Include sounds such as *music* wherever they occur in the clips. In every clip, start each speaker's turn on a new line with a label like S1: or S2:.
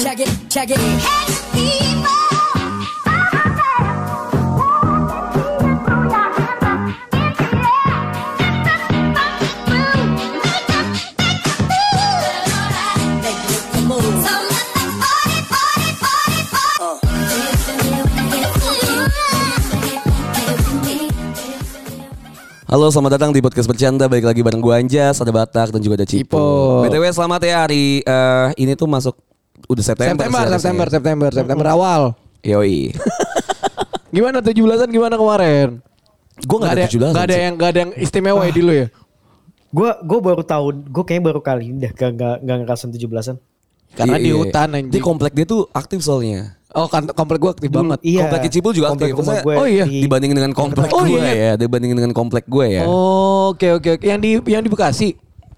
S1: Shaggy. Make you look move.
S2: Halo, selamat datang di podcast bercanda. Balik lagi bareng gua Anjas, ada Batak dan juga ada Cipo.
S3: Cipo.
S2: BTW selamat ya hari eh, ini tuh masuk udah September.
S3: September,
S2: sih harusnya.
S3: September, September, September awal. *laughs*
S2: Yoi.
S3: Gimana 17-an gimana kemarin?
S2: gua enggak ada 17.
S3: Gak ada
S2: sih.
S3: yang gak ada yang istimewa ya di lu ya.
S4: Gue gue baru tahu, gue kayaknya baru kali ini dah gak, gak, gak ngerasain 17-an.
S3: Karena
S2: Iya,
S3: di
S2: iya.
S3: hutan
S2: Di
S3: anjing.
S2: komplek dia tuh aktif soalnya.
S3: Oh, kan komplek gua aktif banget.
S4: Iya.
S2: Komplek Cipul juga
S4: Komplek
S2: aktif.
S4: rumah
S2: Maksudnya-
S4: gue
S3: oh iya,
S4: di-
S2: Dibandingin dengan komplek
S3: Oh,
S2: gue
S3: iya.
S2: ya, dibandingin dengan komplek gue ya.
S3: Oh, oke oke oke. Yang di yang di Bekasi.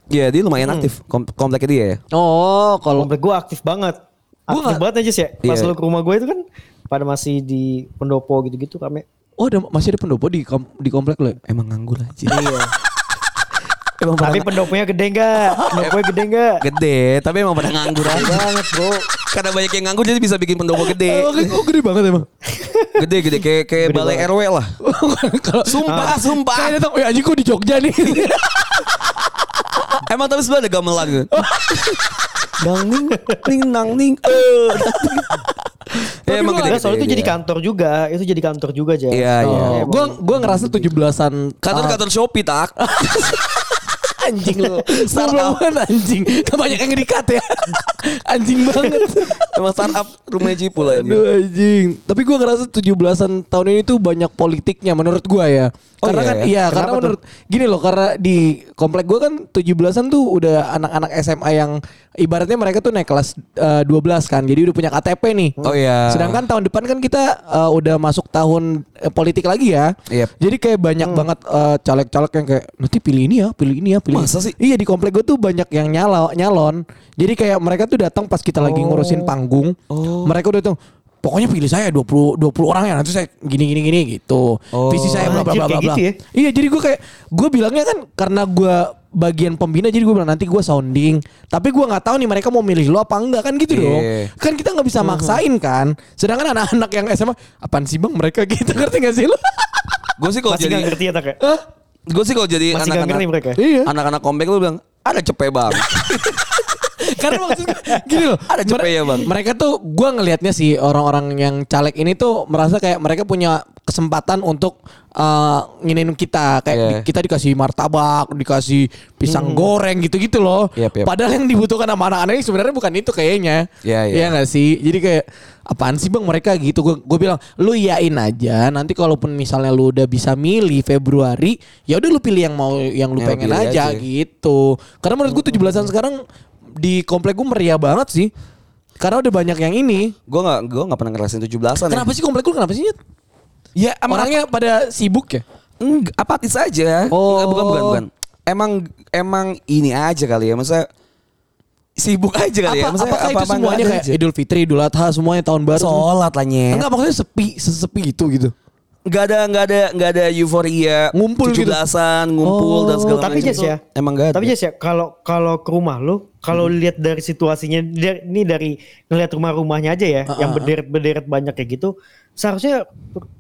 S2: Iya, dia
S3: Hmm.
S2: lumayan aktif kom- kompleknya dia ya.
S3: Oh, kalau
S4: komplek gue aktif banget. Aktif
S3: nggak-
S4: banget aja sih. ya. Pas
S2: Iya.
S4: lu ke rumah gue itu kan pada masih di pendopo gitu-gitu kami.
S3: Oh, ada, masih ada pendopo di kom, di komplek lu. ya?
S2: Emang nganggur aja.
S3: *laughs*
S2: Iya. emang
S4: Tapi
S2: pada
S4: pendoponya gede
S2: *laughs*
S4: enggak? pendoponya gede enggak?
S2: gede, tapi emang pada nganggur aja. banget, Bro. Karena banyak yang nganggur jadi bisa bikin pendopo gede.
S3: Oh, *laughs* gede- oh, gede banget emang.
S2: Gede gede kayak kayak balai RW lah.
S3: kalau
S2: Sumpah, sumpah.
S3: Kayak datang, "Eh, anjing gua di Jogja *laughs* nih."
S2: Emang tapi sebelah ada gamelan gitu. nang ning, ning nang ning. eh. ya, emang gede.
S4: Enggak, gitu. soalnya itu jadi
S2: kan.
S4: kantor juga. Itu jadi kantor juga aja.
S2: Iya, iya.
S3: Oh, gua gua ngerasa 17-an
S2: Kantor-kantor Shopee tak.
S3: anjing lu.
S2: Startup.
S3: Startup anjing. Kebanyakan yang dikat *laughs* ya. anjing banget.
S2: Emang startup rumahnya Cipul lah ini.
S3: Aduh anjing. Tapi gua ngerasa 17-an tahun ini tuh banyak politiknya menurut gua ya.
S2: Oh, iya
S3: karena kan
S2: ya?
S3: iya,
S4: Kenapa
S3: karena
S4: tuh?
S3: menurut gini loh karena di komplek gua kan 17-an tuh udah anak-anak SMA yang ibaratnya mereka tuh naik kelas eh, 12 kan. Jadi udah punya KTP nih.
S2: Oh, iya.
S3: Sedangkan tahun depan kan kita eh, udah masuk tahun eh, politik lagi ya.
S2: Yep.
S3: Jadi kayak banyak
S2: Hmm.
S3: banget eh, caleg-caleg yang kayak nanti pilih ini ya, pilih ini ya, pilih ini."
S2: Masa sih?
S3: Iya di komplek gue tuh banyak yang nyala nyalon. Jadi kayak mereka tuh datang pas kita lagi ngurusin panggung. Mereka udah tuh pokoknya pilih saya 20 20 orang ya nanti saya gini gini gini gitu. Visi saya bla bla
S4: Anjir,
S3: bla bla.
S4: kayak
S3: bla.
S4: gitu ya?
S3: Iya jadi gue kayak gue bilangnya kan karena gue bagian pembina jadi gue bilang nanti gue sounding tapi gue nggak tahu nih mereka mau milih lo apa enggak kan gitu dong
S2: Iya.
S3: kan kita nggak bisa maksain kan sedangkan anak-anak yang SMA apaan sih bang mereka gitu ngerti gak sih lo *laughs*
S2: Gue sih kalau
S4: Masih nggak
S2: jadi
S4: ngerti ya tak ya?
S2: gue sih kalau jadi
S4: Masih nggak ngerti mereka?
S2: anak-anak
S3: Iya.
S2: anak-anak komplek lu bilang ada cepe bang.
S3: Karena maksudnya gini loh.
S2: Ada cepet ya, Bang.
S3: Mereka tuh gua ngelihatnya sih orang-orang yang caleg ini tuh merasa kayak mereka punya kesempatan untuk eh, nginin kita kayak
S2: Iya. Hmm.
S3: di- kita dikasih martabak, dikasih pisang goreng gitu-gitu loh.
S2: Yap, yap.
S3: Padahal yang dibutuhkan sama anak-anak ini sebenarnya bukan itu kayaknya.
S2: Iya, iya.
S3: nggak sih? Jadi kayak apaan sih Bang mereka gitu. Gue gue bilang lu yain aja nanti kalaupun misalnya lu udah bisa milih Februari, ya udah lu pilih yang mau yang lu
S2: Ya,
S3: pengen
S2: pilih
S3: aja
S2: aja.
S3: gitu. Karena menurut gue 17-an sekarang di komplek gue meriah banget sih. Karena udah banyak yang ini.
S2: Gue nggak gue nggak pernah ngerasain 17-an. ya.
S3: Kenapa sih komplek lu kenapa sih? Nyet? Ya orangnya pada sibuk ya.
S2: Enggak, apatis aja.
S3: Oh.
S2: Enggak, bukan, bukan, bukan. Emang emang ini aja kali ya. Maksudnya sibuk aja
S3: Apa,
S2: kali ya. Maksudnya
S3: apakah itu
S2: apa-apa
S3: semuanya
S2: enggak
S3: kayak
S2: aja.
S3: Idul Fitri, Idul Adha, semuanya tahun baru?
S2: sholat lah nyet.
S3: Enggak maksudnya sepi, sesepi itu gitu.
S2: Enggak ada enggak ada enggak ada euforia
S3: Ngumpul gitu.
S2: 17-an, ngumpul dan segala
S4: tapi
S2: macam.
S4: Jas ya.
S2: Emang enggak ada.
S4: Tapi Jas ya, kalau kalau ke rumah lu, kalau
S3: Hmm.
S4: lihat dari situasinya dari- ini dari ngelihat rumah-rumahnya aja ya,
S3: Ah,
S4: yang berderet-berderet banyak kayak gitu, seharusnya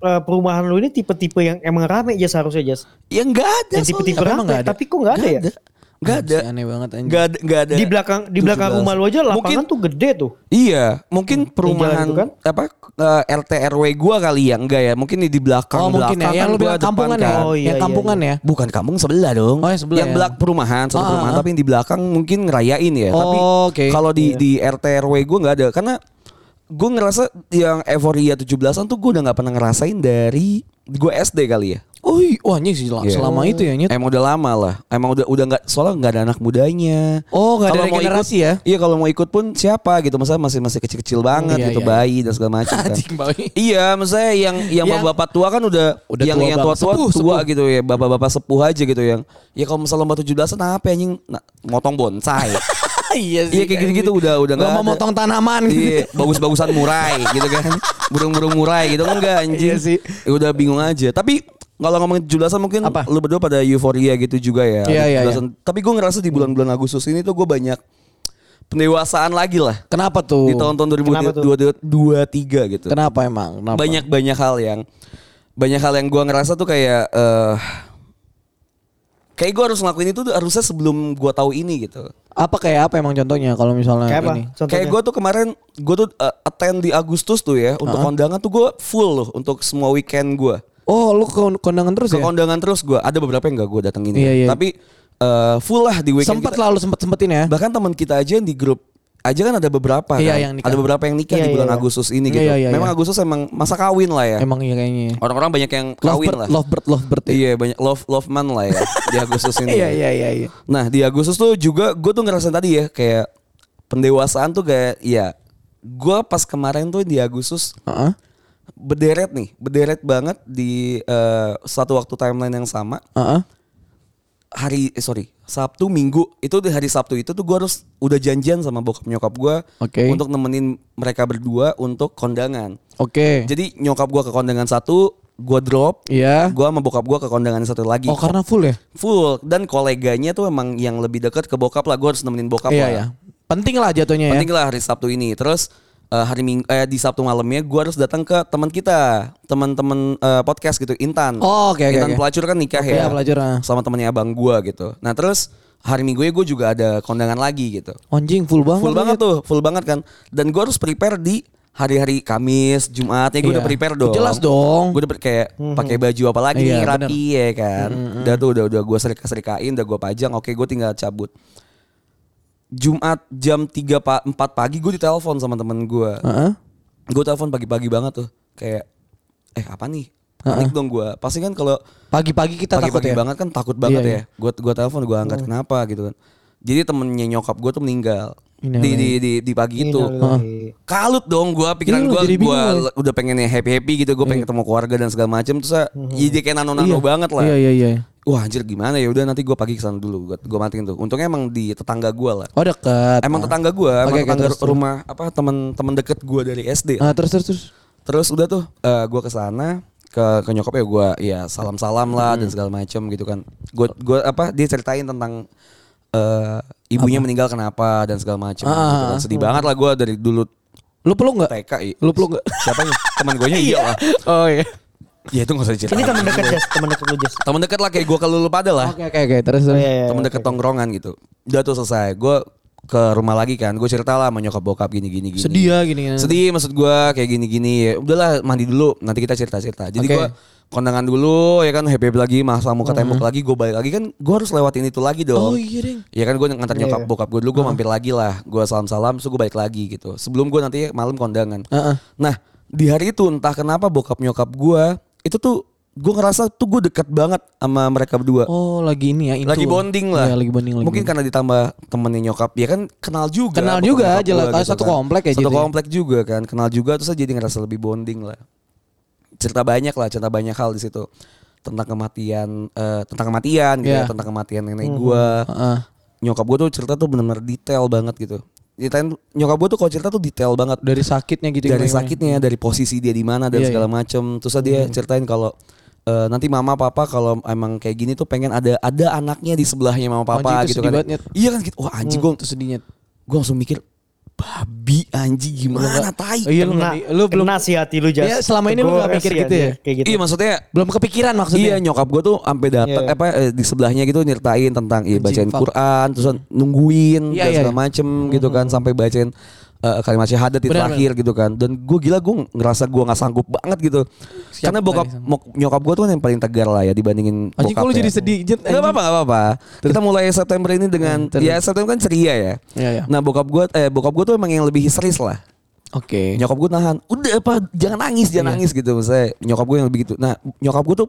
S4: eh, perumahan lu ini tipe-tipe yang emang rame aja seharusnya Jas.
S2: ya enggak ada.
S4: Yang tipe-tipe
S3: soalnya. oh, iya. Emang
S4: rame,
S3: nggak ada?
S4: tapi kok nggak ada ya?
S2: Enggak ada.
S3: Anjing, aneh banget, anjing.
S2: Enggak ada enggak ada.
S4: Di belakang di belakang
S2: 17-an.
S4: rumah lu aja lapangan
S2: Mungkin
S4: tuh gede tuh.
S2: Iya, mungkin perumahan
S4: itu kan?
S2: apa eh, RT RW gua kali ya, enggak ya. Mungkin di belakang
S3: Oh mungkin ya,
S2: belakang
S3: yang
S2: kan
S3: lu
S2: gua
S3: bilang
S2: depan
S3: kampungan ya.
S2: kan.
S4: Oh, iya,
S3: yang
S4: iya,
S3: kampungan ya.
S2: Bukan kampung sebelah dong.
S3: Oh, yang sebelah ya.
S2: belak perumahan, satu
S3: Ah,
S2: perumahan,
S3: ah,
S2: tapi yang di belakang mungkin ngerayain ya. tapi
S3: Oh, oke.
S2: kalau di di RT RW gue nggak ada karena gue ngerasa yang euforia 17-an tuh gue udah nggak pernah ngerasain dari gue SD kali ya.
S3: Oh, iya. wah anjing sih sel-
S2: Iya.
S3: selama itu ya *laughs* nyet.
S2: Emang udah lama lah. Emang udah udah nggak soalnya nggak ada anak mudanya.
S3: Oh, nggak ada
S2: Kalau mau
S3: regenerasi
S2: ikut-
S3: ya?
S2: Iya kalau mau ikut pun siapa gitu. Masa masih masih kecil-kecil banget
S3: Iya,
S2: gitu
S3: iya,
S2: bayi dan segala
S3: *laughs*
S2: macam kan.
S3: Anjing, bayi.
S2: Iya, maksudnya yang yang
S3: Yang-
S2: bapak tua kan udah,
S3: Udah
S2: yang
S3: tua
S2: yang
S3: banget.
S2: tua-tua
S3: Sepuh,
S2: tua
S3: sepuh.
S2: gitu ya. Bapak-bapak sepuh aja gitu yang. Ya kalau misalnya lomba 17-an apa anjing Nah, motong
S3: *laughs*
S2: bonsai.
S3: iya
S2: *laughs* iya kayak gitu-gitu udah udah
S3: Gak
S2: nggak
S3: mau
S2: ada.
S3: motong tanaman
S2: Iya, bagus-bagusan murai gitu kan. Burung-burung murai gitu enggak anjing.
S3: Iya sih.
S2: Ya udah bingung aja. Tapi kalau ngomongin 17-an mungkin
S3: Apa?
S2: lu berdua pada euforia gitu juga ya.
S3: Iya, iya,
S2: 17-an. Tapi gue ngerasa di bulan-bulan Agustus ini tuh gue banyak pendewasaan lagi lah
S3: Kenapa tuh?
S2: di tahun-tahun
S4: Kenapa tuh?
S2: 2023 gitu.
S3: Kenapa emang? Kenapa?
S2: banyak banyak hal yang banyak hal yang gua ngerasa tuh kayak eh kayak gua harus ngelakuin itu tuh harusnya sebelum gua tahu ini gitu.
S3: Apa kayak apa emang contohnya kalau misalnya
S4: Kayak apa?
S3: ini?
S4: Contohnya?
S2: Kayak gue tuh kemarin gue tuh eh, attend di Agustus tuh ya untuk kondangan tuh gue full loh untuk semua weekend gua
S3: Oh, lu ke kondangan terus
S2: Ke
S3: ya?
S2: kondangan terus gua ada beberapa yang gak gue datengin
S3: Iya, iya.
S2: ya. Tapi eh, full lah di weekend.
S3: Sempet
S2: kita.
S3: lah lu sempet-sempetin ya.
S2: Bahkan teman kita aja yang di grup aja kan ada beberapa
S3: Iya,
S2: kan?
S3: yang nikah.
S2: ada beberapa yang nikah
S4: Iya,
S2: di
S4: iya,
S2: bulan
S4: iya.
S2: Agustus ini
S3: Iya,
S2: gitu.
S3: iya, iya,
S2: Memang
S3: iya.
S2: Agustus emang masa kawin lah ya.
S3: Emang iya kayaknya.
S2: Orang-orang banyak yang kawin
S3: Lovebird,
S2: lah.
S3: lovebird, lovebird. ya.
S2: Iya banyak love love man lah ya di Agustus ini.
S3: *laughs* Iya, iya, iya, iya.
S2: Nah di Agustus tuh juga gue tuh ngerasain tadi ya kayak pendewasaan tuh kayak ya gue pas kemarin tuh di Agustus
S3: Heeh.
S2: berderet nih berderet banget di eh, satu waktu timeline yang sama
S3: Heeh.
S2: hari eh, sorry Sabtu Minggu itu di hari Sabtu itu tuh gue harus udah janjian sama bokap nyokap gue
S3: Oke.
S2: untuk nemenin mereka berdua untuk kondangan.
S3: Oke.
S2: Jadi nyokap gue ke kondangan satu gue drop,
S3: Iya.
S2: gue sama bokap gue ke kondangan satu lagi.
S3: Oh, karena full ya?
S2: full dan koleganya tuh emang yang lebih dekat ke bokap lah gue harus nemenin bokap
S3: Iya,
S2: lah
S3: iya. Penting lah jatuhnya ya.
S2: penting lah hari Sabtu ini terus eh, hari Minggu eh, di Sabtu malamnya gue harus datang ke teman kita teman-teman eh, podcast gitu Intan
S3: Oh, oke, oke,
S2: Intan
S3: oke.
S2: pelacur kan nikah
S3: Iya,
S2: ya
S3: pelacur, ah.
S2: sama temennya abang gue gitu nah terus hari Minggunya gue juga ada kondangan lagi gitu
S3: Anjing full banget.
S2: full
S3: lu, ya.
S2: banget
S3: Jat.
S2: tuh full banget kan dan gue harus prepare di hari-hari Kamis Jumat ya gue
S3: Iya.
S2: udah prepare dong
S3: Jelas dong. Mhm.
S2: gue udah per- kayak pakai baju apa lagi
S3: Iya, Mhm,
S2: nih rapi ya kan udah tuh udah udah gue serika serikain udah gue pajang oke gue tinggal cabut Jumat jam 3 pa 4 pagi gue ditelepon sama temen gue
S3: Heeh.
S2: gue telepon pagi-pagi banget tuh kayak eh apa nih panik dong gue pasti kan kalau
S3: Pagi-pagi kita takut
S2: pagi-pagi
S3: ya.
S2: banget kan takut banget
S3: Iya, Oh. iya.
S2: ya gue gue telepon gue angkat kenapa gitu kan jadi temennya nyokap gue tuh meninggal
S3: Innalillahi.
S2: di, di di di pagi itu
S4: Innalillahi.
S2: kalut dong gue pikiran
S3: Iya, lu
S2: gue
S3: jadi
S2: gue
S3: bingung,
S2: le- udah pengen happy happy gitu gue pengen ketemu keluarga dan segala macam terus saya jadi kayak nano nano
S3: Iya.
S2: banget lah
S3: Iya, iya, iya.
S2: wah anjir gimana ya udah nanti gue pagi kesana dulu gue gue matiin tuh untungnya emang di tetangga gue lah
S3: Oh, dekat.
S2: emang tetangga gue emang
S3: Oke, oke,
S2: tetangga
S3: terus, terus.
S2: rumah apa teman teman deket gue dari SD
S3: Ah, terus terus terus.
S2: Terus udah tuh eh gue kesana ke ke nyokapnya gue ya salam salam lah
S3: Hmm.
S2: dan segala macem gitu kan. Gue gue apa dia ceritain tentang eh ibunya meninggal kenapa dan segala macem. gitu
S3: Ah,
S2: kan. Sedih banget lah gue dari dulu
S3: Lu peluk enggak?
S2: TK. i-
S3: Eh, Lu peluk enggak?
S2: Siapa ya? Teman gue iya lah.
S3: Oh iya.
S2: Ya itu gak usah diceritain.
S4: Ini teman dekat Jas, teman dekat lu Jas.
S2: Teman dekat lah kayak gue kalau lu pada lah.
S3: Oke oke oke terus terus.
S4: Iya, iya,
S2: Temen
S4: iya.
S2: dekat tongkrongan gitu. Udah tuh selesai. Gue ke rumah lagi kan. Gue cerita lah sama nyokap bokap gini gini gini.
S3: Sedih ya gini.
S2: Sedih maksud gua kayak gini-gini ya. Udahlah mandi dulu nanti kita cerita-cerita. Jadi
S3: Oke.
S2: gua kondangan dulu ya kan happy happy lagi masa muka tembok lagi gue balik lagi kan gua harus lewatin itu lagi dong.
S3: Mm-hmm. Oh iya Mm-hmm. ding.
S2: Ya kan gue ngantar nyokap bokap gue dulu gue mampir lagi lah gue salam-salam terus gue balik lagi gitu sebelum gue nanti malam kondangan.
S3: Heeh.
S2: Nah di hari itu entah kenapa bokap nyokap gua itu tuh gue ngerasa tuh gue dekat banget sama mereka berdua.
S3: Oh lagi ini ya itu.
S2: Lagi bonding lah.
S3: Iya lagi bonding lagi.
S2: Mungkin karena ditambah temennya nyokap, ya kan kenal juga.
S3: Kenal
S2: bokap
S3: juga,
S2: nyokap
S3: jelas.
S2: gua
S3: Ah, satu komplek ya
S2: Satu
S3: jadi.
S2: komplek juga kan, kenal juga terus saya jadi ngerasa lebih bonding lah. Cerita banyak lah, cerita banyak hal di situ tentang kematian, eh, tentang kematian gitu
S3: Iya.
S2: ya, tentang kematian nenek gua.
S3: Heeh.
S2: Nyokap gua tuh cerita tuh benar-benar detail banget gitu. Detail, nyokap gua tuh kalau cerita tuh detail banget
S3: Dari sakitnya gitu.
S2: dari
S3: gimana, gimana.
S2: sakitnya, dari posisi dia di mana dan
S3: Iya, Hmm.
S2: segala macem. Terus dia ceritain kalau eh, nanti mama papa kalau emang kayak gini tuh pengen ada ada anaknya di sebelahnya mama papa
S3: Anjing,
S2: gitu
S3: itu sedih
S2: kan.
S3: banget, Nyet. Hmm,
S2: Iya kan gitu. Wah anjing gue
S3: Itu sedihnya.
S2: gue langsung mikir babi anjing gimana tai.
S3: Iya lu
S4: Kena,
S3: nggak- lu belum
S4: kena sih hati lu Jas.
S3: Iya, selama ini lu nggak
S4: Teguh
S3: mikir
S4: sih
S3: gitu ya?
S4: anjir, Kayak gitu.
S2: Iya maksudnya
S3: belum kepikiran maksudnya.
S2: Iya nyokap gue tuh sampai datang
S4: Iya.
S2: apa eh, di sebelahnya gitu nyertain tentang iya
S3: Anjing,
S2: bacain
S3: fuck. Hmm.
S2: Quran terus nungguin
S3: Iya,
S2: dan
S3: iya,
S2: segala
S3: iya.
S2: macem gitu kan sampai bacain eh, kalimat syahadat di
S3: Benar,
S2: terakhir gitu kan dan gue gila gue ngerasa gue nggak sanggup banget gitu
S3: Siap,
S2: karena bokap
S3: tadi,
S2: mok- nyokap gue tuh kan yang paling tegar lah ya dibandingin
S3: Anjing kok lu
S2: bokap
S3: jadi sedih. Jet,
S2: Gak apa-apa, gak apa-apa. Kita mulai September ini dengan
S3: Hmm, terus.
S2: ya September kan ceria ya.
S3: Iya, iya.
S2: Nah bokap gue, eh bokap gue tuh emang yang lebih histeris lah.
S3: Oke.
S2: Nyokap gue nahan, udah apa, jangan nangis,
S3: Iya.
S2: jangan nangis gitu. Misalnya nyokap gue yang begitu. Nah nyokap gue tuh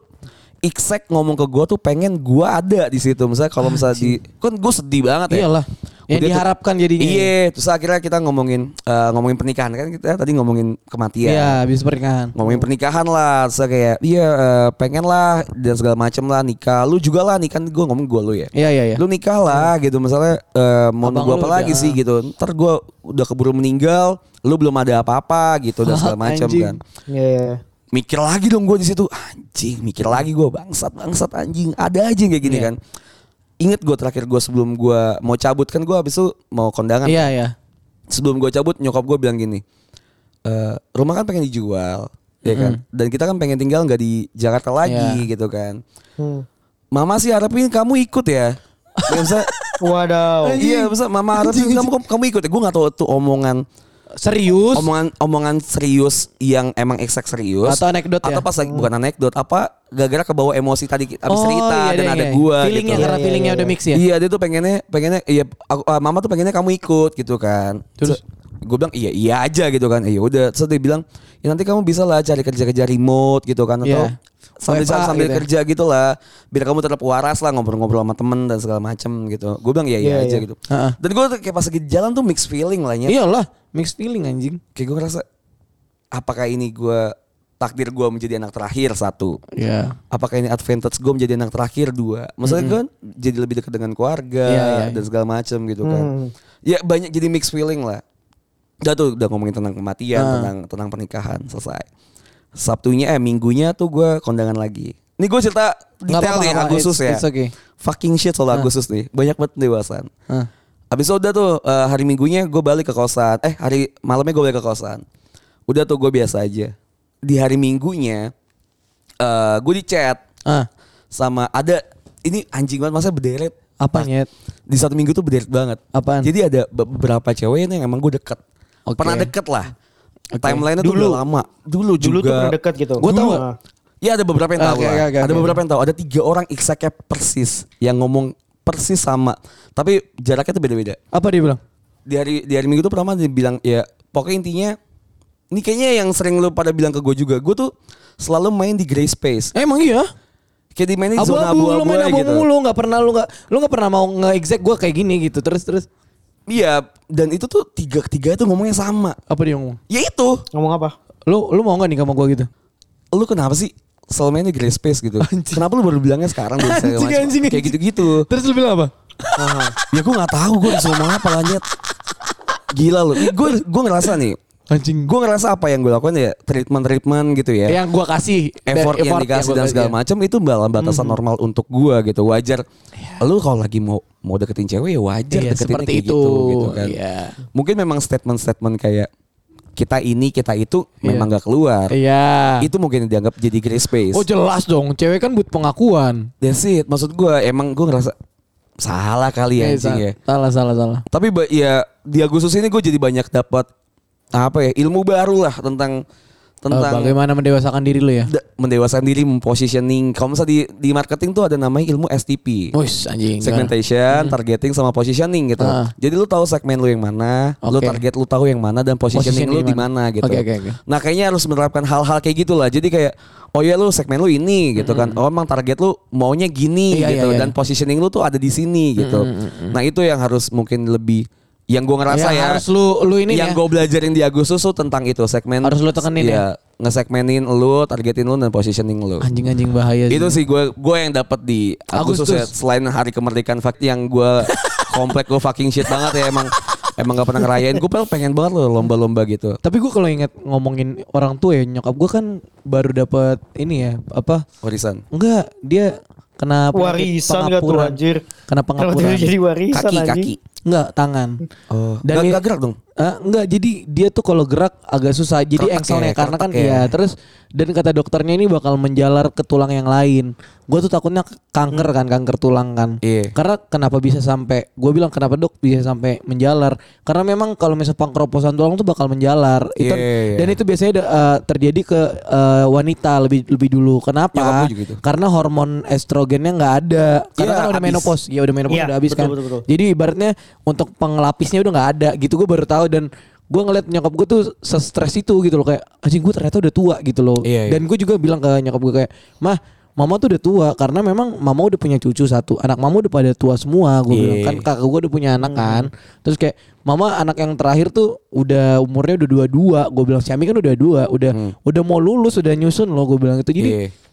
S2: exact ngomong ke gue tuh pengen gue ada di situ. Misalnya kalau misalnya di, kan gue sedih banget ya.
S3: Iyalah. Yang
S2: Udah tuh-
S3: diharapkan jadinya. ya.
S2: Iya, terus akhirnya kita ngomongin eh, ngomongin pernikahan kan kita tadi ngomongin kematian
S3: Iya, habis pernikahan.
S2: ngomongin pernikahan lah saya kayak iya eh, pengen lah dan segala macem lah nikah lu juga lah nikah gue ngomong gue lu ya
S3: Iya iya iya.
S2: lu nikah lah gitu misalnya eh, mau
S3: Abang
S2: nunggu
S3: lu
S2: apa
S3: udah-
S2: lagi sih gitu ntar gue udah keburu meninggal lu belum ada apa-apa gitu dan
S3: *laughs*
S2: segala macem
S3: Anjing.
S2: kan
S4: Iya, iya.
S2: mikir lagi dong gue di situ anjing mikir lagi gue bangsat bangsat anjing ada aja yang kayak gini
S3: Iya.
S2: kan inget gue terakhir gue sebelum gue mau cabut kan gue habis itu mau kondangan
S3: Iya iya.
S2: sebelum gue cabut nyokap gue bilang gini "Eh, rumah kan pengen dijual ya kan dan kita kan pengen tinggal nggak di Jakarta lagi
S3: Iya.
S2: gitu kan
S3: *laughs*
S4: Hmm.
S2: mama sih harapin kamu ikut ya Ya, maksudnya-
S3: Oh.
S4: Wadaw.
S2: iya maksudnya mama harapin kamu kamu ikut ya gue nggak tahu itu omongan
S3: Serius?
S2: omongan omongan serius yang emang eksak serius
S3: Atau anekdot ya?
S2: atau pas lagi bukan anekdot apa gara-gara kebawa emosi tadi ki- abis
S3: Oh,
S2: cerita
S3: iya,
S2: dan
S3: iya,
S2: ada
S3: iya.
S2: gua
S3: Feelingnya
S2: gitu.
S3: karena
S4: Iya,
S3: feelingnya
S4: iya,
S3: udah mix ya.
S2: Iya dia tuh pengennya pengennya iya aku- ah, mama tuh pengennya kamu ikut gitu kan.
S3: Terus?
S2: gue bilang iya iya aja gitu kan. Iya udah. Terus dia bilang ya nanti kamu bisa lah cari kerja-kerja remote gitu kan atau
S3: Iya.
S2: sambil
S3: WFA
S2: sambil
S3: gitu ya.
S2: kerja gitu lah biar kamu tetap waras lah ngobrol-ngobrol sama temen dan segala macem gitu. Gue bilang iya iya
S4: Iya,
S2: aja
S4: iya.
S2: gitu.
S3: Heeh. Iya.
S2: Dan gue kayak pas lagi jalan tuh mixed feeling lah ya.
S3: Iyalah, mix feeling anjing.
S2: Kayak gue ngerasa apakah ini gue takdir gue menjadi anak terakhir satu
S3: Iya.
S2: apakah ini advantage gue menjadi anak terakhir dua maksudnya gue kan jadi lebih dekat dengan keluarga
S3: Iya, iya, Mm.
S2: dan segala macam gitu kan
S4: Hmm.
S2: ya banyak jadi mixed feeling lah udah tuh udah ngomongin tentang kematian
S3: Ah.
S2: tentang tentang pernikahan selesai sabtunya eh minggunya tuh gue kondangan lagi ini gue cerita detail
S3: apa-apa,
S2: nih
S3: nggak apa-apa.
S2: Agustus
S3: It's-
S2: ya
S3: it's okay. Ah.
S2: fucking shit soal Agustus nih banyak banget dewasan
S3: Hah.
S2: Abis itu udah tuh eh, hari minggunya gue balik ke kosan. Eh hari malamnya gue balik ke kosan. Udah tuh gue biasa aja. Di hari minggunya eh gue di chat
S3: Ah,
S2: sama ada ini anjing banget masa berderet.
S3: apa nyet?
S2: Di satu minggu tuh berderet banget.
S3: Apaan?
S2: Jadi ada be- beberapa cewek yang emang gue deket.
S3: Oke.
S2: Pernah deket lah.
S3: Oke.
S2: Timeline-nya tuh
S4: Dulu.
S2: udah lama. Dulu juga.
S4: Dulu tuh pernah deket gitu.
S2: Gue tau
S4: Dulu.
S2: gak? Ya ada beberapa yang tahu
S3: Oke,
S2: lah.
S3: oke, oke,
S2: ada
S3: oke.
S2: beberapa yang tahu. Ada tiga orang exactnya persis yang ngomong persis sama. Tapi jaraknya tuh beda-beda
S3: Apa dia bilang?
S2: di hari di hari minggu tuh pertama dia bilang ya pokoknya intinya ini kayaknya yang sering lu pada bilang ke gue juga gue tuh selalu main di gray space
S3: Emang iya?
S2: kayak di mainin zona
S3: Abu-abu lu
S2: abu-abu
S3: main
S2: aja
S3: abu
S2: gitu
S3: mulu nggak pernah lu nggak lu nggak pernah mau nge-exact gua kayak gini gitu. Terus terus
S2: iya dan itu tuh tiga tiga itu ngomongnya sama
S3: apa dia ngomong?
S2: ya itu
S4: Ngomong apa?
S3: Lu lu mau nggak nih sama gua gitu?
S2: lu kenapa sih selalu main di gray space gitu
S3: Anjing.
S2: kenapa lu baru bilangnya sekarang baru saya
S3: Anjing,
S2: macam-
S3: anjing,
S2: kayak
S3: anjing.
S2: gitu-gitu
S3: Terus lu bilang apa?
S2: ya gue nggak tahu gue disuruh ngomong apa lanjut gila lu gue gue ngerasa nih
S3: Anjing
S2: gue ngerasa apa yang gue lakukan ya treatment treatment gitu ya
S3: yang gua kasih
S2: effort, yang
S3: ya,
S2: dikasih dan segala
S3: iya.
S2: macam itu dalam batasan
S3: Hmm.
S2: normal untuk gua gitu wajar lu kalau lagi mau mau deketin cewek ya wajar
S3: Iya,
S2: deketinnya
S3: seperti
S2: kayak
S3: itu.
S2: gitu gitu kan
S3: Iya.
S2: mungkin memang statement-statement kayak kita ini kita itu memang nggak keluar
S3: Iya.
S2: itu mungkin dianggap jadi gray space
S3: Oh jelas dong, cewek kan butuh pengakuan.
S2: that's it maksud gua emang gua ngerasa salah kali
S3: Iya,
S2: ya anjing ya
S3: Salah salah salah.
S2: tapi ba- ya di Agustus ini gue jadi banyak dapat apa ya ilmu baru lah tentang
S3: Eh,
S2: tentang
S3: bagaimana mendewasakan diri lu ya?
S2: Da- mendewasakan diri, mempositioning. Kalau misalnya di, di marketing tuh ada namanya ilmu STP.
S3: Wis anjing.
S2: Segmentation, targeting sama positioning gitu.
S3: Iya. Hmm. Ah.
S2: Jadi lu tahu segmen lu yang mana, lu
S3: Oke.
S2: target lu tahu yang mana dan positioning,
S3: Positioning
S2: lu di
S3: mana.
S2: mana gitu.
S3: Oke, oke, oke.
S2: Nah, kayaknya harus menerapkan hal-hal kayak gitu lah. Jadi kayak oh ya lu segmen lu ini gitu kan. Oh emang target lu maunya gini
S3: Hmm. Iya,
S2: gitu
S3: iya, Hmm, iya.
S2: dan positioning lu tuh ada di sini gitu. Nah, itu yang harus mungkin lebih yang gue ngerasa
S3: Yang
S2: ya
S3: harus lu- lu ini
S2: yang
S3: ya.
S2: gue belajarin di Agustus tuh tentang itu segmen
S3: Harus lu tekenin ya. Ah,
S2: Iya, ngesegmenin lu, targetin lu dan positioning lu.
S3: Anjing anjing bahaya sih.
S2: Itu sih gue gue yang dapat di Agustus,
S3: Iya. Agustus.
S2: ya, selain hari kemerdekaan fak yang gue komplek gue fucking shit banget ya emang emang gak pernah ngerayain. Gue padahal pengen banget loh lomba-lomba gitu.
S3: Tapi gue kalau ingat ngomongin orang tua ya nyokap gue kan baru dapat ini ya apa?
S2: Warisan.
S3: Enggak dia kena penyakit
S4: Warisan gak tuh
S3: pengapuran.
S4: anjir.
S3: Kena
S4: Kenapa
S3: pengapuran.
S4: tiba-tiba jadi warisan
S2: Kaki
S4: anjing?
S2: kaki.
S3: Enggak tangan.
S2: Oh.
S3: Dan
S2: Dan
S3: dia-
S2: gak, gerak dong.
S3: Ah, enggak jadi dia tuh kalau gerak agak susah jadi
S2: Keretak ya,
S3: engselnya karena kan
S2: keretak ya.
S3: iya terus dan kata dokternya ini bakal menjalar ke tulang yang lain gue tuh takutnya kanker kan kanker tulang kan
S2: Iya.
S3: karena kenapa bisa sampai gue bilang kenapa dok bisa sampai menjalar karena memang kalau misalnya pangkroposan tulang tuh bakal menjalar itu
S2: Iya, iya.
S3: dan itu biasanya da- eh, terjadi ke eh, wanita lebih lebih dulu
S2: Nyokap
S3: kenapa
S2: gua juga gitu.
S3: karena hormon estrogennya nggak ada karena
S2: Iya,
S3: kan udah
S2: habis.
S3: menopause ya udah menopause
S4: Iya,
S3: udah habis
S4: betul,
S3: kan
S4: betul, betul.
S3: jadi ibaratnya untuk penglapisnya udah nggak ada gitu gue baru tahu dan gue ngeliat nyokap gue tuh stres itu gitu loh kayak anjing gue ternyata udah tua gitu loh.
S2: Iya, iya.
S3: Dan gue juga bilang ke nyokap gue kayak mah mama tuh udah tua karena memang mama udah punya cucu satu anak mama udah pada tua semua gue bilang
S2: Iya.
S3: kan kakak gue udah punya anak kan terus kayak mama anak yang terakhir tuh udah umurnya udah dua dua gue bilang Syami kan udah dua udah udah mau lulus udah nyusun loh gue bilang itu
S2: Iya.
S3: jadi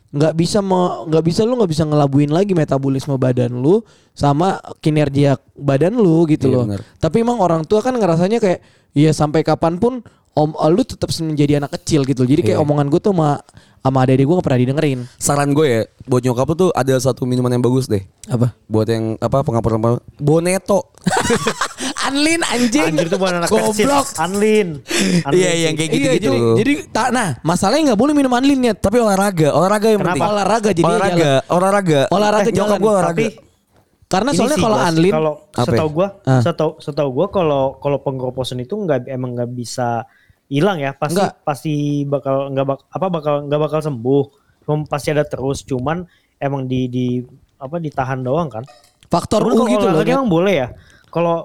S3: nggak bisa me- nggak bisa lu nggak bisa ngelabuin lagi metabolisme badan lu sama kinerja badan lu gitu
S2: Iya,
S3: loh.
S2: benar.
S3: Tapi emang orang tua kan ngerasanya kayak ya sampai kapanpun om eh, lu tetap menjadi anak kecil gitu. Jadi kayak omongan gue tuh sama sama adik gue gak pernah didengerin.
S2: Saran gue ya buat nyokap lu tuh ada satu minuman yang bagus deh.
S3: Apa?
S2: Buat yang apa pengapuran boneto.
S3: Anlin anjing.
S4: Anjir tuh bukan anak persis.
S3: Goblok.
S4: Anlin. Anlin
S2: Iya,
S4: sih.
S2: yang kayak gitu-gitu.
S3: Iya, jadi, jadi tak nah masalahnya nggak boleh minum anlinnya tapi
S2: olahraga, olahraga yang
S4: Kenapa?
S2: penting.
S3: olahraga jadi
S2: olahraga, olahraga. Eh,
S3: Olahraga
S2: nyokap
S3: jalan,
S2: gue olahraga.
S4: Tapi
S3: karena
S4: ini
S3: soalnya
S4: sih,
S3: kalau
S4: Bos,
S3: anlin
S4: kalau
S2: Apa
S4: setahu
S2: ya?
S4: gua,
S3: Ah.
S4: setahu setahu gua kalau kalau penggeroposan itu nggak emang nggak bisa hilang ya, pasti
S3: Nggak.
S4: pasti bakal nggak bak- apa bakal nggak bakal sembuh. Cuma pasti ada terus, cuman emang di di apa ditahan doang kan.
S3: faktor U
S4: Cuman kalau
S3: gitu loh.
S4: olahraga
S3: Gat.
S4: emang boleh ya. Kalau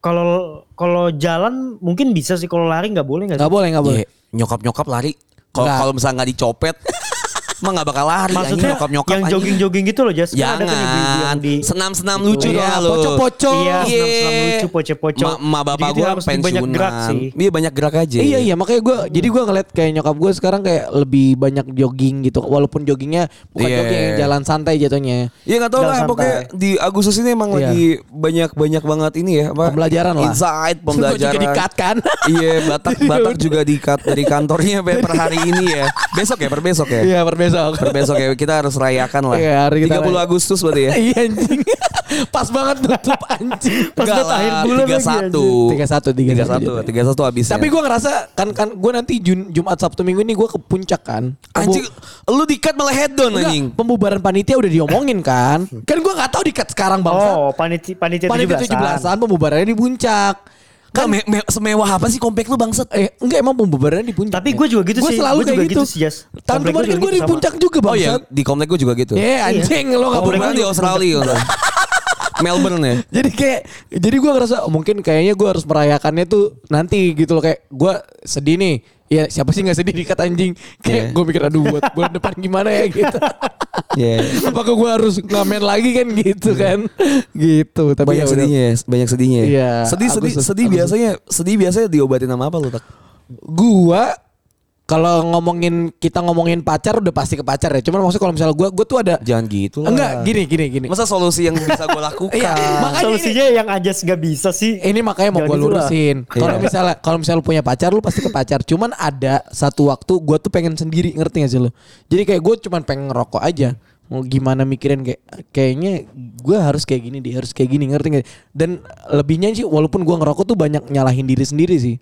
S4: kalau kalau jalan mungkin bisa sih kalau lari nggak boleh nggak sih?
S3: Nggak boleh nggak boleh.
S2: Iya, nyokap-nyokap lari. Kalau
S3: Nggak.
S2: kalau misalnya nggak dicopet, *laughs* emang nggak bakal lari.
S4: Maksudnya
S2: anjing, nyokap-nyokap.
S4: yang
S2: anjing.
S4: jogging-jogging gitu loh, Jas. Kan ada kan ibu-ibu
S2: Jangan.
S4: yang di
S2: Senam-senam lucu
S3: Iya,
S2: doang lo.
S3: poco-poco.
S4: Iya,
S2: Iya.
S4: senam-senam lucu, poco-poco.
S2: Ma, ma bapak
S4: Jadi
S2: gue
S4: harus
S2: pensiunan.
S4: banyak gerak sih.
S2: Iya banyak gerak aja.
S3: Iya iya makanya gue jadi gue ngeliat kayak nyokap gue sekarang kayak lebih banyak jogging gitu walaupun joggingnya bukan
S2: Iya.
S3: jogging yang jalan santai jatuhnya
S2: Iya nggak tahu
S4: Jangan
S2: lah
S4: sampai.
S2: pokoknya di Agustus ini emang
S3: Iya.
S2: lagi banyak banyak banget ini ya apa?
S3: Pembelajaran lah. *laughs*
S2: Insight
S3: Gua
S2: pembelajaran.
S3: juga di-cut kan.
S2: *laughs* iya
S3: *laughs*
S2: Batak Batak juga di cut dari kantornya per per hari ini ya. Besok ya per besok ya.
S3: Iya per besok
S2: Per besok ya kita harus rayakan lah.
S3: Iya, hari
S2: 30
S3: kita rayakan.
S2: Agustus berarti ya.
S3: *laughs* Iya anjing Pas banget nutup anjing
S4: Pas
S2: Enggak
S4: banget akhir
S2: lah,
S4: bulan
S2: 31, 31,
S3: 31,
S2: 31 habis.
S3: Tapi
S4: Ya.
S3: gue ngerasa kan kan gue nanti Jun- Jumat Sabtu Minggu ini gue ke puncak kan. Pembu-
S2: anjing lu di cut malah head down
S3: Enggak,
S2: anjing.
S3: pembubaran panitia udah diomongin kan. Kan gue nggak tahu dikat sekarang bangsa.
S4: Oh, panitia panitia
S3: panitia
S4: 17-an.
S3: 17-an pembubarannya di puncak.
S2: Kan me- me- semewah apa sih komplek lu bangsat?
S3: Eh, enggak emang pembubarannya di puncak.
S4: Tapi
S3: men.
S4: gua juga gitu
S3: Gua
S4: sih,
S3: selalu
S4: gua
S3: kayak
S4: juga
S3: gitu.
S4: gitu sih, Jas.
S3: Tahun
S4: Komplek
S3: kemarin
S4: gua
S3: kan
S4: juga
S3: gue di
S4: gitu sama. Iya.
S3: puncak juga bang.
S2: Oh iya, di komplek gue juga gitu.
S3: Ya anjing lo nggak
S2: Komplek
S3: pernah.
S2: lu di Australia. gitu.
S3: *laughs*
S2: Melbourne ya.
S3: Jadi kayak jadi gua ngerasa oh, mungkin kayaknya gua harus merayakannya tuh nanti gitu loh kayak gua sedih nih. Ya siapa sih nggak sedih *laughs* dikat anjing? Kayak
S2: Iya.
S3: gua mikir aduh buat bulan depan gimana ya *laughs* gitu.
S2: Iya.
S3: Apakah gua harus ngamen lagi kan *laughs* gitu kan? Gitu. Tapi
S2: banyak
S3: ya udah.
S2: sedihnya, ya, banyak sedihnya. ya.
S3: Iya,
S2: Sedih, sedih,
S3: Agustus-
S2: sedih
S3: Agustus.
S2: biasanya, sedih biasanya diobatin sama apa lu tak?
S3: Gua kalau ngomongin kita ngomongin pacar udah pasti ke pacar ya. Cuman maksud kalau misalnya gua gua tuh ada
S2: Jangan gitu lah.
S3: enggak gini gini gini.
S2: Masa solusi yang bisa gue lakukan?
S3: Iya, makanya ini-
S4: Solusinya yang ajas nggak bisa sih.
S3: ini makanya mau
S4: Jangan
S3: gue
S4: gitu lah.
S3: lurusin. Kalau
S2: Iya.
S3: misalnya kalau misalnya lu punya pacar, lu pasti ke pacar. Cuman ada satu waktu gue tuh pengen sendiri, ngerti gak sih lu? Jadi kayak gue cuman pengen ngerokok aja. Mau gimana mikirin kayak kayaknya gue harus kayak gini deh, harus kayak gini, ngerti gak? Dan lebihnya sih walaupun gue ngerokok tuh banyak nyalahin diri sendiri sih.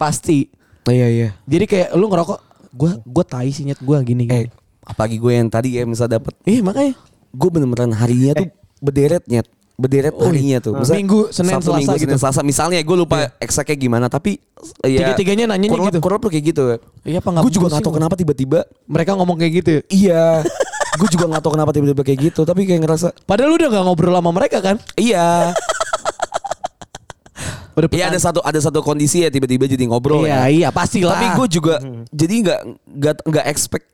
S3: Pasti.
S2: Iya, iya.
S3: Jadi kayak lu ngerokok, gue gue tai sih nyet gue gini.
S2: Eh,
S3: gini.
S2: apalagi gue yang tadi ya misal dapet,
S3: Iya makanya.
S2: gue bener-beneran harinya tuh berderet nyet berderet
S3: Eh. Oh,
S2: harinya tuh.
S3: ah. Minggu, Senin,
S2: Sabtu,
S3: Selasa
S2: minggu,
S3: gitu. Iya.
S2: Senin, Selasa. Misalnya gue lupa eksaknya gimana tapi eh, ya
S3: Tiga-tiganya nanyanya
S2: kurang-
S3: gitu.
S2: kurang tuh kayak gitu.
S3: Iya apa nggak
S2: Gue juga
S3: bagus
S2: gak
S3: sih?
S2: tau kenapa tiba-tiba
S3: Mereka ngomong kayak gitu. ya?
S2: Iya. *laughs* gue juga gak tau kenapa tiba-tiba kayak gitu. Tapi kayak ngerasa.
S3: Padahal lu udah gak ngobrol sama mereka kan?
S2: Iya.
S3: Udah
S2: Iya ada satu ada satu kondisi ya tiba-tiba jadi ngobrol
S3: Iya, Hmm.
S2: ya.
S3: iya, pastilah.
S2: Tapi gue juga jadi nggak nggak nggak expect.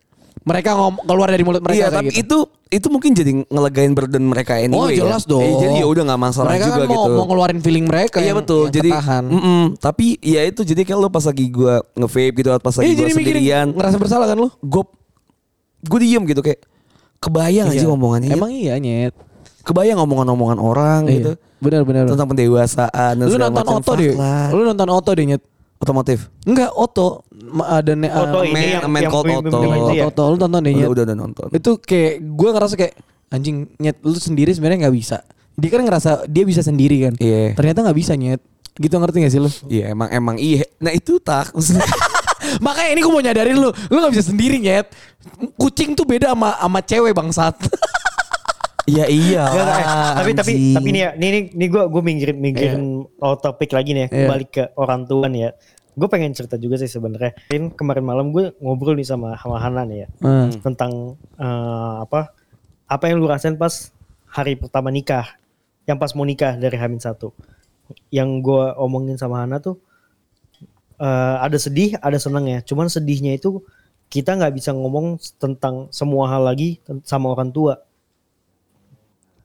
S3: mereka ngom keluar dari mulut mereka
S2: Iya
S3: kayak
S2: tapi
S3: gitu.
S2: itu itu mungkin jadi ngelegain burden mereka anyway.
S3: oh
S2: ya.
S3: jelas dong.
S2: Eh, jadi ya udah nggak masalah
S3: mereka
S2: juga
S3: kan mau,
S2: gitu.
S3: mau ngeluarin feeling mereka.
S2: Iya
S3: yang-
S2: betul.
S3: yang
S2: Jadi,
S3: ketahan.
S2: mm-mm. tapi ya itu jadi kayak lo pas lagi gue nge-vape gitu, pas lagi
S3: Iya
S2: gue
S3: jadi mikirin
S2: sendirian,
S3: ngerasa bersalah kan lu?
S2: gue gue diem gitu kayak kebayang aja omongannya.
S3: Emang iya nyet.
S2: kebayang omongan-omongan orang gitu.
S3: Benar benar.
S2: tentang pendewasaan dan
S3: Iya. Lu
S2: segala
S3: nonton
S2: macam.
S3: Oto
S2: Fuck
S3: deh.
S2: lah.
S3: Lu nonton Oto deh nyet.
S2: otomotif
S3: Enggak Oto Ma- ada ne- uh,
S4: Oto ini
S2: Man-
S4: yang
S2: Man
S4: yang
S2: Called
S4: premium
S2: Otto.
S4: gitu ya.
S3: Oto, Oto, lu tonton deh
S2: udah,
S3: nyet.
S2: udah udah nonton
S3: Itu kayak gue ngerasa kayak anjing nyet lu sendiri sebenarnya nggak bisa. Dia kan ngerasa dia bisa sendiri kan.
S2: Iya.
S3: Ternyata nggak bisa nyet. Gitu ngerti gak sih lu?
S2: iya emang emang iya nah itu tak maksudnya
S3: *laughs* Makanya ini gue mau nyadarin lu, lu gak bisa sendiri nyet. Kucing tuh beda sama sama cewek bangsat. *laughs*
S2: ya *laughs* iya
S4: Nggak, nggak,
S3: Ah,
S4: eh,
S2: lah,
S4: tapi tapi
S2: anjing.
S4: tapi nih ya, nih nih, nih gue gue minggirin minggirin out topik lagi nih ya,
S3: Iya.
S4: balik ke orang tua nih ya. Gue pengen cerita juga sih sebenarnya. Kemarin kemarin malam gue ngobrol nih sama sama Hana nih ya
S3: Hmm.
S4: tentang eh, apa apa yang lu rasain pas hari pertama nikah, yang pas mau nikah dari Hamin satu. Yang gue omongin sama Hana tuh eh, ada sedih, ada senangnya. Cuman sedihnya itu kita nggak bisa ngomong tentang semua hal lagi ten- sama orang tua.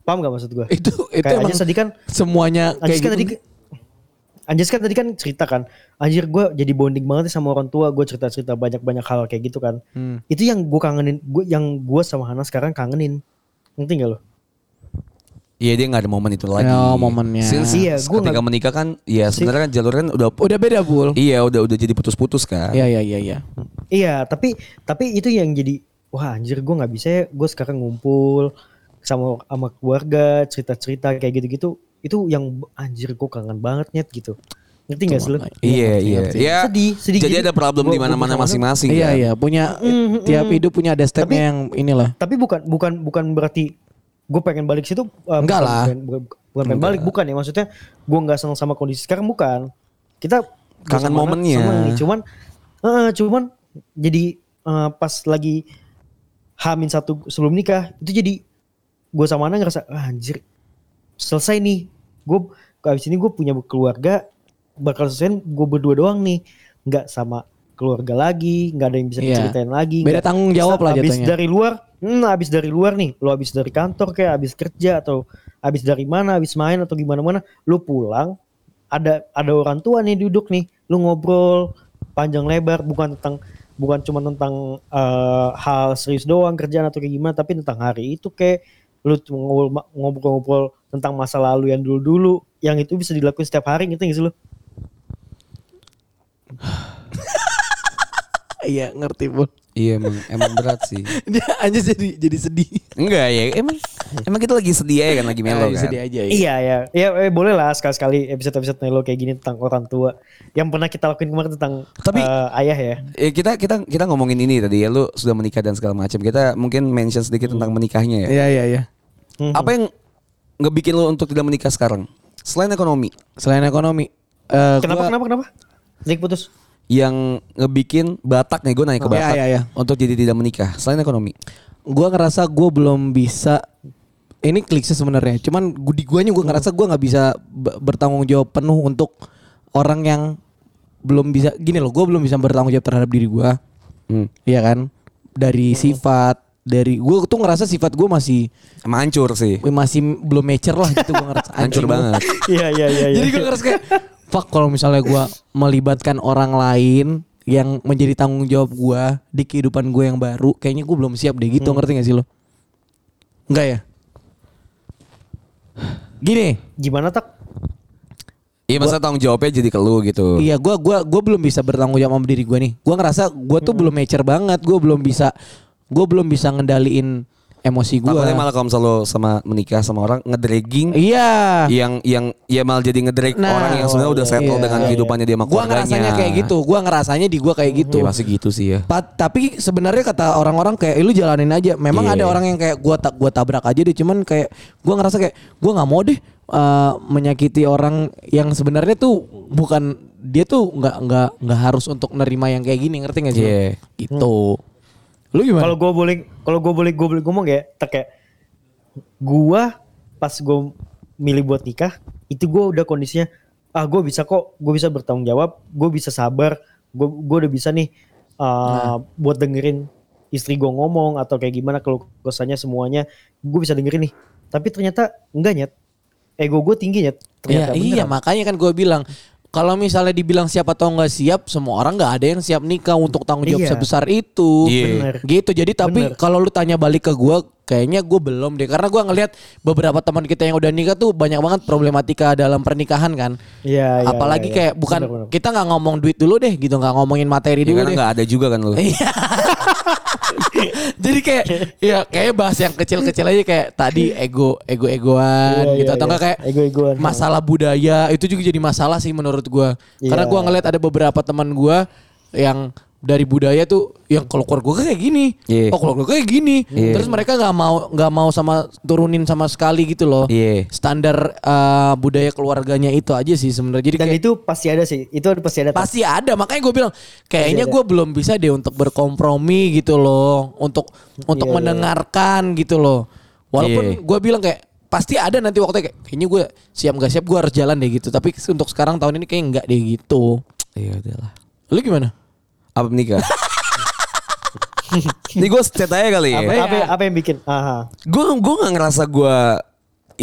S4: Paham nggak maksud gue?
S3: itu itu
S4: Kayak
S3: emang
S4: Anjas tadi kan,
S3: semuanya kayak gitu.
S4: Anjas kan tadi, Anjas kan tadi kan cerita kan, anjir gue jadi bonding banget nih sama orang tua, gue cerita-cerita banyak-banyak hal kayak gitu kan.
S3: Hmm.
S4: Itu yang gue kangenin, gue yang gue sama Hana sekarang kangenin. Ngerti gak lo?
S2: Iya dia nggak ada momen itu lagi.
S3: Ya, momennya.
S2: Since
S4: Iya,
S2: s-
S4: gua
S2: ketika
S4: nggak-
S2: menikah kan, ya sebenarnya kan jalurnya udah
S3: udah beda bul.
S2: iya udah udah jadi putus-putus kan.
S3: Iya iya iya iya.
S4: Iya, tapi tapi itu yang jadi wah anjir gue nggak bisa ya, gue sekarang ngumpul sama sama keluarga cerita-cerita kayak gitu-gitu itu yang anjir gue kangen banget nyet gitu ngerti gak sih lu?
S2: Iya
S3: ngerti,
S2: iya.
S3: ngerti.
S2: Ya,
S4: Sedih, sedih
S2: Jadi
S4: gitu.
S2: ada problem
S4: Gua-
S2: di
S4: gua
S2: mana-mana
S4: kesana.
S2: masing-masing.
S3: Iya
S2: kan?
S3: iya punya tiap hidup punya ada stepnya
S4: Mm-hmm. Tapi-
S3: yang inilah.
S4: tapi bukan bukan bukan berarti gue pengen balik situ uh,
S3: Enggak
S4: bukan-
S3: lah.
S4: bukan, bukan, bukan pengen balik bukan ya maksudnya gue nggak senang sama kondisi sekarang bukan kita
S2: Kangen
S4: bersama-
S2: momennya.
S4: seneng nih. cuman eh, cuman jadi eh, pas lagi hamin satu sebelum nikah itu jadi gue sama Ana ngerasa "Ah, anjir selesai nih gue abis ini gue punya keluarga bakal selesai gue berdua doang nih nggak sama keluarga lagi nggak ada yang bisa
S3: Iya.
S4: diceritain lagi
S3: Beda
S4: nggak-
S3: tanggung jawab lah
S4: abis
S3: jatuhnya.
S4: dari luar hmm, abis dari luar nih lo abis dari kantor kayak abis kerja atau abis dari mana abis main atau gimana mana lo pulang ada ada orang tua nih duduk nih lo ngobrol panjang lebar bukan tentang bukan cuma tentang eh, hal serius doang kerjaan atau kayak gimana tapi tentang hari itu kayak lo cuma ngobrol- ngobrol-ngobrol tentang masa lalu yang dulu-dulu yang itu bisa dilakuin setiap hari gitu nggak sih lo
S3: Iya ngerti bu.
S2: Iya emang emang berat sih.
S3: *laughs* Dia aja jadi jadi sedih.
S2: Enggak ya, emang emang kita lagi sedih ya kan lagi melo
S3: Aja
S2: kan.
S3: sedih aja. Iya.
S4: Iya ya, ya eh, boleh lah sekali-sekali episode-episode Nelo kayak gini tentang orang tua yang pernah kita lakuin kemarin tentang
S2: Tapi-
S4: eh, ayah ya.
S2: Ya, kita kita kita ngomongin ini tadi ya lu sudah menikah dan segala macam. Kita mungkin mention sedikit tentang menikahnya ya.
S3: Iya iya iya.
S2: Apa yang ngebikin lu untuk tidak menikah sekarang? Selain ekonomi,
S3: Selain ekonomi. eh, gua-
S4: Kenapa kenapa kenapa? Nick putus.
S2: yang ngebikin Batak nih gue nanya ke
S3: Iya,
S2: Batak
S3: iya, iya.
S2: untuk jadi tidak menikah selain ekonomi
S3: gue ngerasa gue belum bisa ini klise sebenarnya cuman gu- di guanya gue ngerasa gue nggak bisa b- bertanggung jawab penuh untuk orang yang belum bisa gini loh gue belum bisa bertanggung jawab terhadap diri gue
S2: Hmm.
S3: iya kan dari sifat dari gue tuh ngerasa sifat gue masih
S2: Emang hancur sih
S3: masih belum mature lah gitu gue ngerasa
S2: *laughs* hancur
S3: anjing.
S2: banget
S4: *laughs* Iya iya iya. iya.
S3: Jadi gue ngerasa kayak Fuck kalau misalnya gue melibatkan orang lain Yang menjadi tanggung jawab gue Di kehidupan gue yang baru Kayaknya gue belum siap deh gitu ngerti gak sih lo? Enggak ya? Gini
S4: gimana tak?
S2: iya masa tanggung jawabnya jadi ke lu gitu
S3: Iya gue gua, gua belum bisa bertanggung jawab sama diri gue nih Gue ngerasa gue tuh belum mature banget Gue belum bisa Gue belum bisa ngendaliin emosi gue
S2: Takutnya malah kalau misalnya lu sama menikah sama orang ngedragging
S3: Iya
S2: yang yang ya malah jadi ngedrag
S3: Nah,
S2: orang yang sebenarnya udah settle
S3: iya,
S2: dengan
S3: iya.
S2: kehidupannya dia sama
S3: Gue
S2: keluarganya.
S3: ngerasanya kayak gitu Gue ngerasanya di gue kayak gitu
S2: Ya pasti gitu sih ya.
S3: Pa- tapi sebenarnya kata orang-orang kayak "Eh, lu jalanin aja. Memang
S2: Iya.
S3: ada orang yang kayak gua tak gua tabrak aja deh cuman kayak gua ngerasa kayak gua nggak mau deh eh, menyakiti orang yang sebenarnya tuh bukan dia tuh nggak nggak nggak harus untuk nerima yang kayak gini ngerti gak sih?
S2: Iya.
S3: Gitu. Lu
S4: Kalau
S3: gimana?
S4: gue boleh kalau gue boleh gue boleh ngomong ya tak kayak gue pas gue milih buat nikah itu gue udah kondisinya ah gue bisa kok gue bisa bertanggung jawab gue bisa sabar gue gue udah bisa nih uh,
S3: Nah.
S4: buat dengerin istri gue ngomong atau kayak gimana kalau kesannya semuanya gue bisa dengerin nih tapi ternyata enggak nyet ego gue tinggi nyet
S3: Ya,
S4: ternyata
S3: iya
S4: beneran.
S3: makanya kan gua bilang kalau misalnya dibilang siapa tahu nggak siap, semua orang nggak ada yang siap nikah untuk tanggung jawab
S4: Iya.
S3: sebesar itu.
S2: Iya.
S4: Bener.
S3: Gitu. Jadi tapi
S4: Bener.
S3: kalau lu tanya balik ke gua kayaknya gue belum deh karena gua ngelihat beberapa teman kita yang udah nikah tuh banyak banget problematika dalam pernikahan kan.
S4: Iya, iya,
S3: Apalagi
S4: iya,
S3: kayak
S4: iya.
S3: bukan
S4: Bener, bener.
S3: kita nggak ngomong duit dulu deh gitu, nggak ngomongin
S2: Ya
S3: materi dulu
S2: karena
S3: deh.
S2: nggak ada juga kan lu.
S3: Iya. *laughs* Jadi kayak ya kayak bahas yang kecil-kecil aja kayak tadi ego ego-egoan
S4: Iya,
S3: gitu
S4: iya,
S3: atau enggak
S4: iya.
S3: kayak
S4: Ego-egoan.
S3: masalah budaya itu juga jadi masalah sih menurut gua. Karena
S4: Iya.
S3: gua ngeliat ada beberapa teman gua yang dari budaya tuh yang kalau keluarga gua kayak gini,
S2: Iya.
S3: oh keluarga gua kayak gini,
S2: Iya.
S3: terus mereka nggak mau nggak mau sama turunin sama sekali gitu loh,
S2: Iya.
S3: standar eh, budaya keluarganya itu aja sih sebenarnya. Jadi
S4: dan
S3: kayak-
S4: itu pasti ada sih itu ada pasti ada
S3: Pasti ada makanya gue bilang kayaknya
S4: ada.
S3: gue belum bisa deh untuk berkompromi gitu loh untuk untuk
S4: Iya, iya.
S3: mendengarkan gitu loh
S2: Iya.
S3: walaupun gue bilang kayak pasti ada nanti waktunya kayak kayaknya gue siap gak siap gue harus jalan deh gitu tapi untuk sekarang tahun ini kayak nggak deh gitu
S2: Iya udahlah.
S3: lu gimana
S2: Apa
S3: *laughs*
S2: menikah? Ini gue chat aja kali ya.
S4: apa, apa,
S3: Iya.
S4: apa yang bikin aha
S2: Gue gue nggak ngerasa gue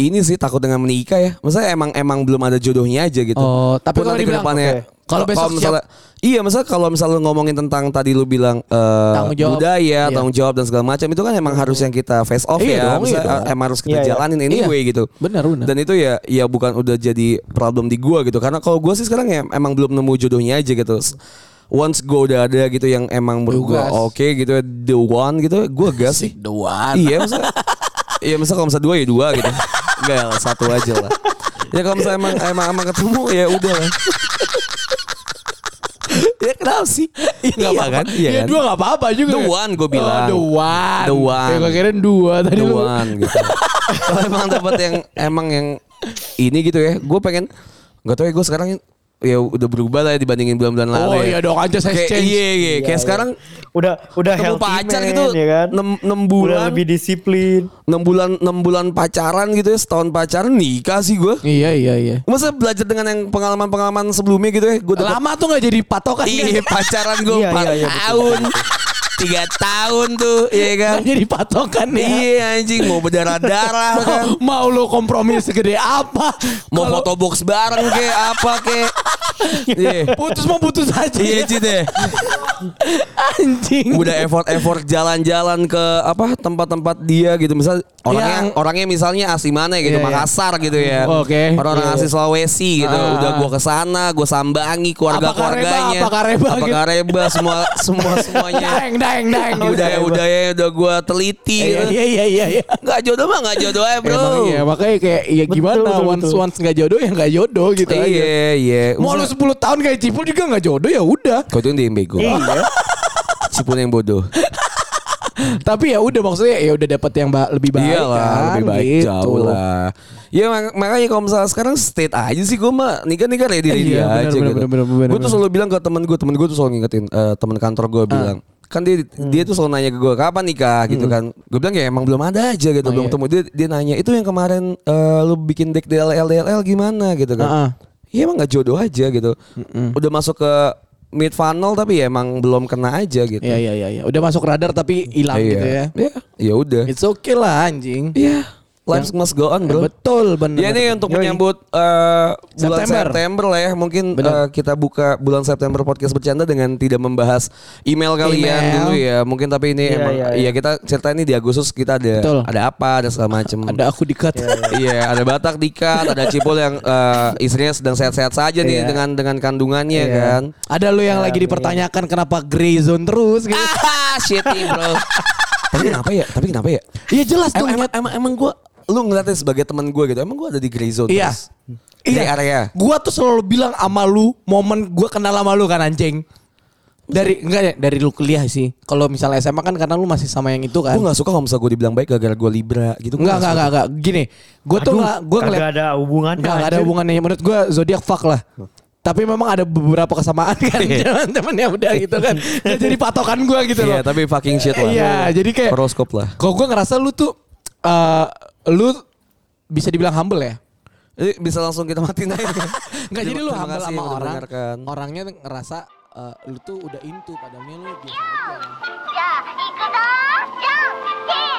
S2: ini sih takut dengan menikah ya. Maksudnya emang emang belum ada jodohnya aja gitu.
S3: Oh, tapi
S2: Pun
S3: kalau
S2: nanti
S3: dibilang,
S2: kedepannya-
S3: oke. Kalau besok
S2: misalnya, iya, misalnya kalau misalnya lu ngomongin tentang tadi lu bilang eh,
S3: Tanggung jawab.
S2: budaya,
S3: Iya.
S2: tanggung jawab dan segala macam itu kan emang harus yang kita face off
S3: Iya
S2: ya.
S3: dong, iya
S2: Maksudnya,
S3: dong.
S2: eh, emang harus kita
S4: Iya, iya.
S2: jalanin anyway
S3: Iya.
S2: gitu.
S3: Benar, benar.
S2: Dan itu ya ya bukan udah jadi problem di gua gitu. Karena kalau gua sih sekarang ya emang belum nemu jodohnya aja gitu. S- Once gua udah ada gitu yang emang menurut gua
S3: gas.
S2: oke gitu ya, the one gitu gua gas sih. *laughs*
S3: doan
S2: Iya masa Iya masa kalau misalnya dua ya dua gitu Enggak lah, satu aja lah ya kalau misalnya emang emang, emang ketemu ya udah lah.
S3: *laughs* Ya kenapa sih?
S2: Nggak apa-apa kan? Iya
S3: Iya
S2: kan?
S3: dua gak apa-apa juga.
S2: The one gua bilang.
S3: Oh, the one.
S2: The one.
S3: Ya, gua kirain dua tadi.
S2: The
S3: lu.
S2: one gitu. kalau emang dapat yang emang yang ini gitu ya, gue pengen nggak tahu ya gue sekarang ya udah berubah lah ya dibandingin bulan-bulan lalu.
S3: Oh
S2: ya.
S3: iya dong aja saya
S2: Kayak,
S3: change.
S2: iya, iya, kayak sekarang
S4: udah udah
S2: Ketemu
S4: healthy
S2: pacar
S4: man,
S2: gitu,
S4: ya kan?
S2: nem- nem
S4: Udah
S2: bulan.
S4: lebih disiplin.
S2: 6 bulan 6 bulan pacaran gitu ya, setahun pacaran nikah sih gue.
S3: Iya iya iya.
S2: Masa belajar dengan yang pengalaman-pengalaman sebelumnya gitu ya, gue dapat
S3: Lama tuh gak jadi patokan.
S2: *laughs* Iya pacaran gue
S4: Iya,
S2: empat
S4: iya, iya,
S2: tahun Tiga tahun tuh Iya kan
S3: Gak jadi patokan ya.
S2: Iya anjing Mau berdarah-darah
S3: *laughs*
S2: kan
S3: Mau lu kompromi segede apa?
S2: Mau
S3: Kalau *laughs*
S2: foto box bareng ke Apa ke Iya
S3: Putus mau putus aja.
S2: Iya Ci, deh
S3: Anjing.
S2: Udah effort-effort jalan-jalan ke apa tempat-tempat dia gitu. Misal orang
S3: Iya.
S2: yang orangnya misalnya asli mana gitu,
S3: Iya, iya.
S2: Makassar gitu ya.
S3: Oke.
S2: Orang-orang
S3: Iya,
S2: asli
S3: iya.
S2: Sulawesi gitu.
S3: Ah,
S2: Udah
S3: ah.
S2: gua ke sana, gua sambangi keluarga-keluarganya.
S3: Apa kareba, apa kareba
S2: Apa
S3: gitu.
S2: kareba, semua semua
S3: *laughs*
S2: semuanya.
S3: Daeng daeng daeng.
S2: Budaya-budaya udah gua teliti.
S3: Iya
S2: gitu.
S3: iya iya iya. iya.
S2: Nggak jodoh mah nggak jodoh aja bro.
S3: Emang iya makanya kayak ya
S4: Betul,
S3: gimana
S4: betul,
S3: once
S4: betul.
S3: once nggak jodoh ya nggak jodoh gitu aja.
S2: Iya iya.
S3: Mau lu 10 tahun kayak cipul juga nggak jodoh ya udah.
S2: Kau tuh yang bego.
S4: Iya.
S2: Cipun yang bodoh.
S3: Tapi ya udah maksudnya ya udah dapat yang ba- lebih baik
S2: Iyalah
S3: kan,
S2: lebih baik
S3: gitu.
S2: jauh lah. Ya mak- makanya kalau misalnya sekarang state aja sih gue mah nikah nikah ready ready
S3: Iya, benar,
S2: ya aja
S3: benar, benar, benar, benar,
S2: gitu. Gue tuh
S3: benar. Ah.
S2: selalu bilang ke temen gue, temen gue tuh selalu ngingetin eh, temen kantor gue bilang kan dia
S3: Hmm.
S2: dia tuh selalu nanya ke gue kapan nikah gitu kan. Gue bilang ya emang belum ada aja gitu, belum
S3: iya.
S2: ketemu. Dia dia nanya itu yang kemarin eh, lu bikin deck DLL DLL gimana gitu kan.
S3: Ah, ah.
S2: Iya emang gak jodoh aja gitu. Udah masuk ke mid funnel tapi ya emang belum kena aja gitu.
S3: Iya iya iya iya. Udah masuk radar tapi hilang
S2: Iya.
S3: gitu ya.
S2: Ya, ya udah.
S3: It's okay lah anjing.
S2: Iya, life must go on, Iya, bro.
S3: Betul benar.
S2: Ya ini untuk
S4: Yoi.
S2: menyambut eh, bulan
S3: September.
S2: September. lah ya. Mungkin
S3: Benar.
S2: eh, kita buka bulan September podcast bercanda dengan tidak membahas email kalian
S3: Email.
S2: dulu ya. Mungkin tapi ini
S4: Iya,
S2: emang
S4: iya,
S2: iya
S4: iya.
S2: kita ceritain ini di Agustus kita ada
S3: Betul.
S2: ada apa, ada segala macem
S3: ada aku dikat.
S2: Iya, ada Batak dikat, ada Cipul yang eh, istrinya sedang sehat-sehat saja nih
S3: Iya.
S2: dengan dengan kandungannya kan.
S3: Ada lu yang lagi dipertanyakan kenapa gray zone terus gitu.
S2: Ah, shitty bro. tapi kenapa ya? Tapi kenapa ya?
S3: Iya jelas
S2: Em-
S3: dong.
S2: Emang, emang, emang gue lu ngeliatnya sebagai teman gue gitu. Emang gue ada di gray zone
S3: Iya.
S2: terus? Eh. Gray area.
S3: Gua tuh selalu bilang sama lu momen gua kenal sama lu kan anjing. Dari enggak ya, dari lu kuliah sih. Kalau misalnya SMA kan karena lu masih sama yang itu kan.
S2: Gue gak suka kalau misalnya gue dibilang baik gara-gara gue Libra gitu. Gua
S3: Enggak enggak enggak enggak gini. Gua tuh
S4: Aduh,
S3: nggak- gua
S4: kagak
S3: ngeliat
S4: ada hubungannya,
S3: Enggak ada
S4: anjir.
S3: hubungannya menurut gua zodiak fuck lah. Tapi memang ada beberapa kesamaan kan
S2: Iya.
S3: *laughs* teman-teman ya udah gitu
S2: *laughs*
S3: kan. Nggak jadi patokan gua gitu
S2: suka. Iya
S3: loh.
S2: tapi fucking shit lah.
S3: Iya, jadi kayak-
S2: Horoskop lah.
S3: Kalau gua ngerasa lu tuh eh lu bisa dibilang humble ya.
S2: Jadi bisa langsung kita matiin *laughs* aja.
S3: Enggak jadi lu
S2: Terima
S3: humble
S2: kasih yang
S3: sama
S2: udah
S3: orang.
S2: mendengarkan.
S3: Orangnya ngerasa eh, lu tuh udah into padahalnya lu biasa aja.
S5: じゃあ行くぞジャンプ